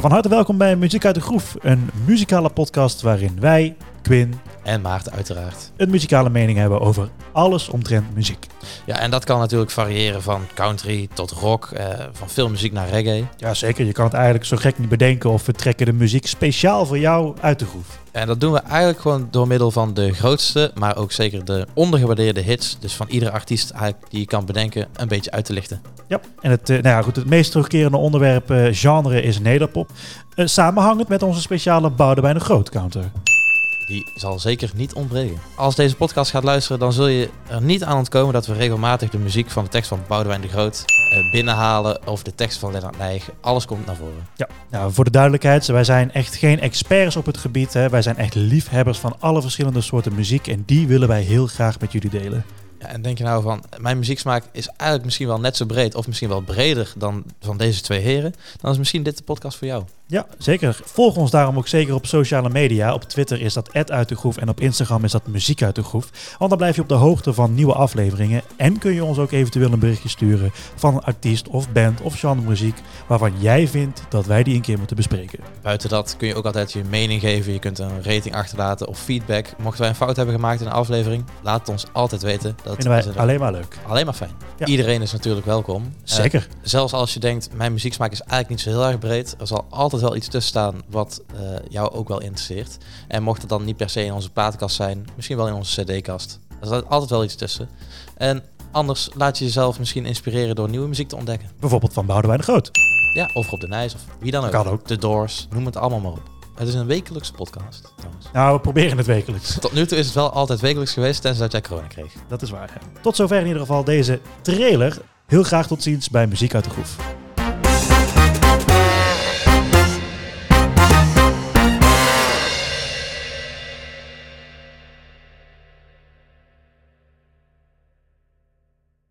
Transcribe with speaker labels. Speaker 1: van harte welkom bij Muziek uit de Groef, een muzikale podcast waarin wij, Quinn,
Speaker 2: En Maarten uiteraard.
Speaker 1: een muzikale mening hebben over alles omtrent muziek.
Speaker 2: Ja, en dat kan natuurlijk variëren van country tot rock, eh, van filmmuziek naar reggae.
Speaker 1: Jazeker, je kan het eigenlijk zo gek niet bedenken of we trekken de muziek speciaal voor jou uit de groef.
Speaker 2: En dat doen we eigenlijk gewoon door middel van de grootste, maar ook zeker de ondergewaardeerde hits. Dus van iedere artiest eigenlijk die je kan bedenken, een beetje uit te lichten.
Speaker 1: Ja, en het, eh, nou ja, goed, het meest terugkerende onderwerp eh, genre is nederpop. Eh, samenhangend met onze speciale Boudewijn de Groot counter.
Speaker 2: Die zal zeker niet ontbreken. Als deze podcast gaat luisteren, dan zul je er niet aan ontkomen dat we regelmatig de muziek van de tekst van Boudewijn de Groot eh, binnenhalen. Of de tekst van Lennart Nijg. Alles komt naar voren.
Speaker 1: Ja, nou, voor de duidelijkheid, wij zijn echt geen experts op het gebied. Hè. Wij zijn echt liefhebbers van alle verschillende soorten muziek en die willen wij heel graag met jullie delen.
Speaker 2: Ja, en denk je nou van, mijn muzieksmaak is eigenlijk misschien wel net zo breed, of misschien wel breder dan van deze twee heren, dan is misschien dit de podcast voor jou.
Speaker 1: Ja, zeker. Volg ons daarom ook zeker op sociale media. Op Twitter is dat @uitdegroef uit de groef en op Instagram is dat muziek uit de groef. Want dan blijf je op de hoogte van nieuwe afleveringen en kun je ons ook eventueel een berichtje sturen van een artiest of band of genre muziek waarvan jij vindt dat wij die een keer moeten bespreken.
Speaker 2: Buiten dat kun je ook altijd je mening geven, je kunt een rating achterlaten of feedback. Mochten wij een fout hebben gemaakt in een aflevering, laat het ons altijd weten. Dat
Speaker 1: Vinden wij
Speaker 2: is
Speaker 1: alleen maar leuk.
Speaker 2: alleen maar fijn.
Speaker 1: Ja.
Speaker 2: Iedereen is natuurlijk welkom. Eh,
Speaker 1: Zeker.
Speaker 2: Zelfs als je denkt, mijn muzieksmaak is eigenlijk niet zo heel erg breed. Er zal altijd wel iets tussen staan wat eh, jou ook wel interesseert. En mocht het dan niet per se in onze platenkast zijn, misschien wel in onze cd-kast. Er zit altijd wel iets tussen. En anders laat je jezelf misschien inspireren door nieuwe muziek te ontdekken.
Speaker 1: Bijvoorbeeld van Boudewijn de Groot.
Speaker 2: Ja, of Rob de Nijs, of wie dan ook.
Speaker 1: Kan ook.
Speaker 2: The Doors, noem het allemaal maar op. Het is een wekelijkse podcast, trouwens.
Speaker 1: Nou, we proberen het wekelijks.
Speaker 2: Tot nu toe is het wel altijd wekelijks geweest, tenzij dat jij corona kreeg.
Speaker 1: Dat is waar. Tot zover in ieder geval deze trailer. Heel graag tot ziens bij Muziek uit de Groef.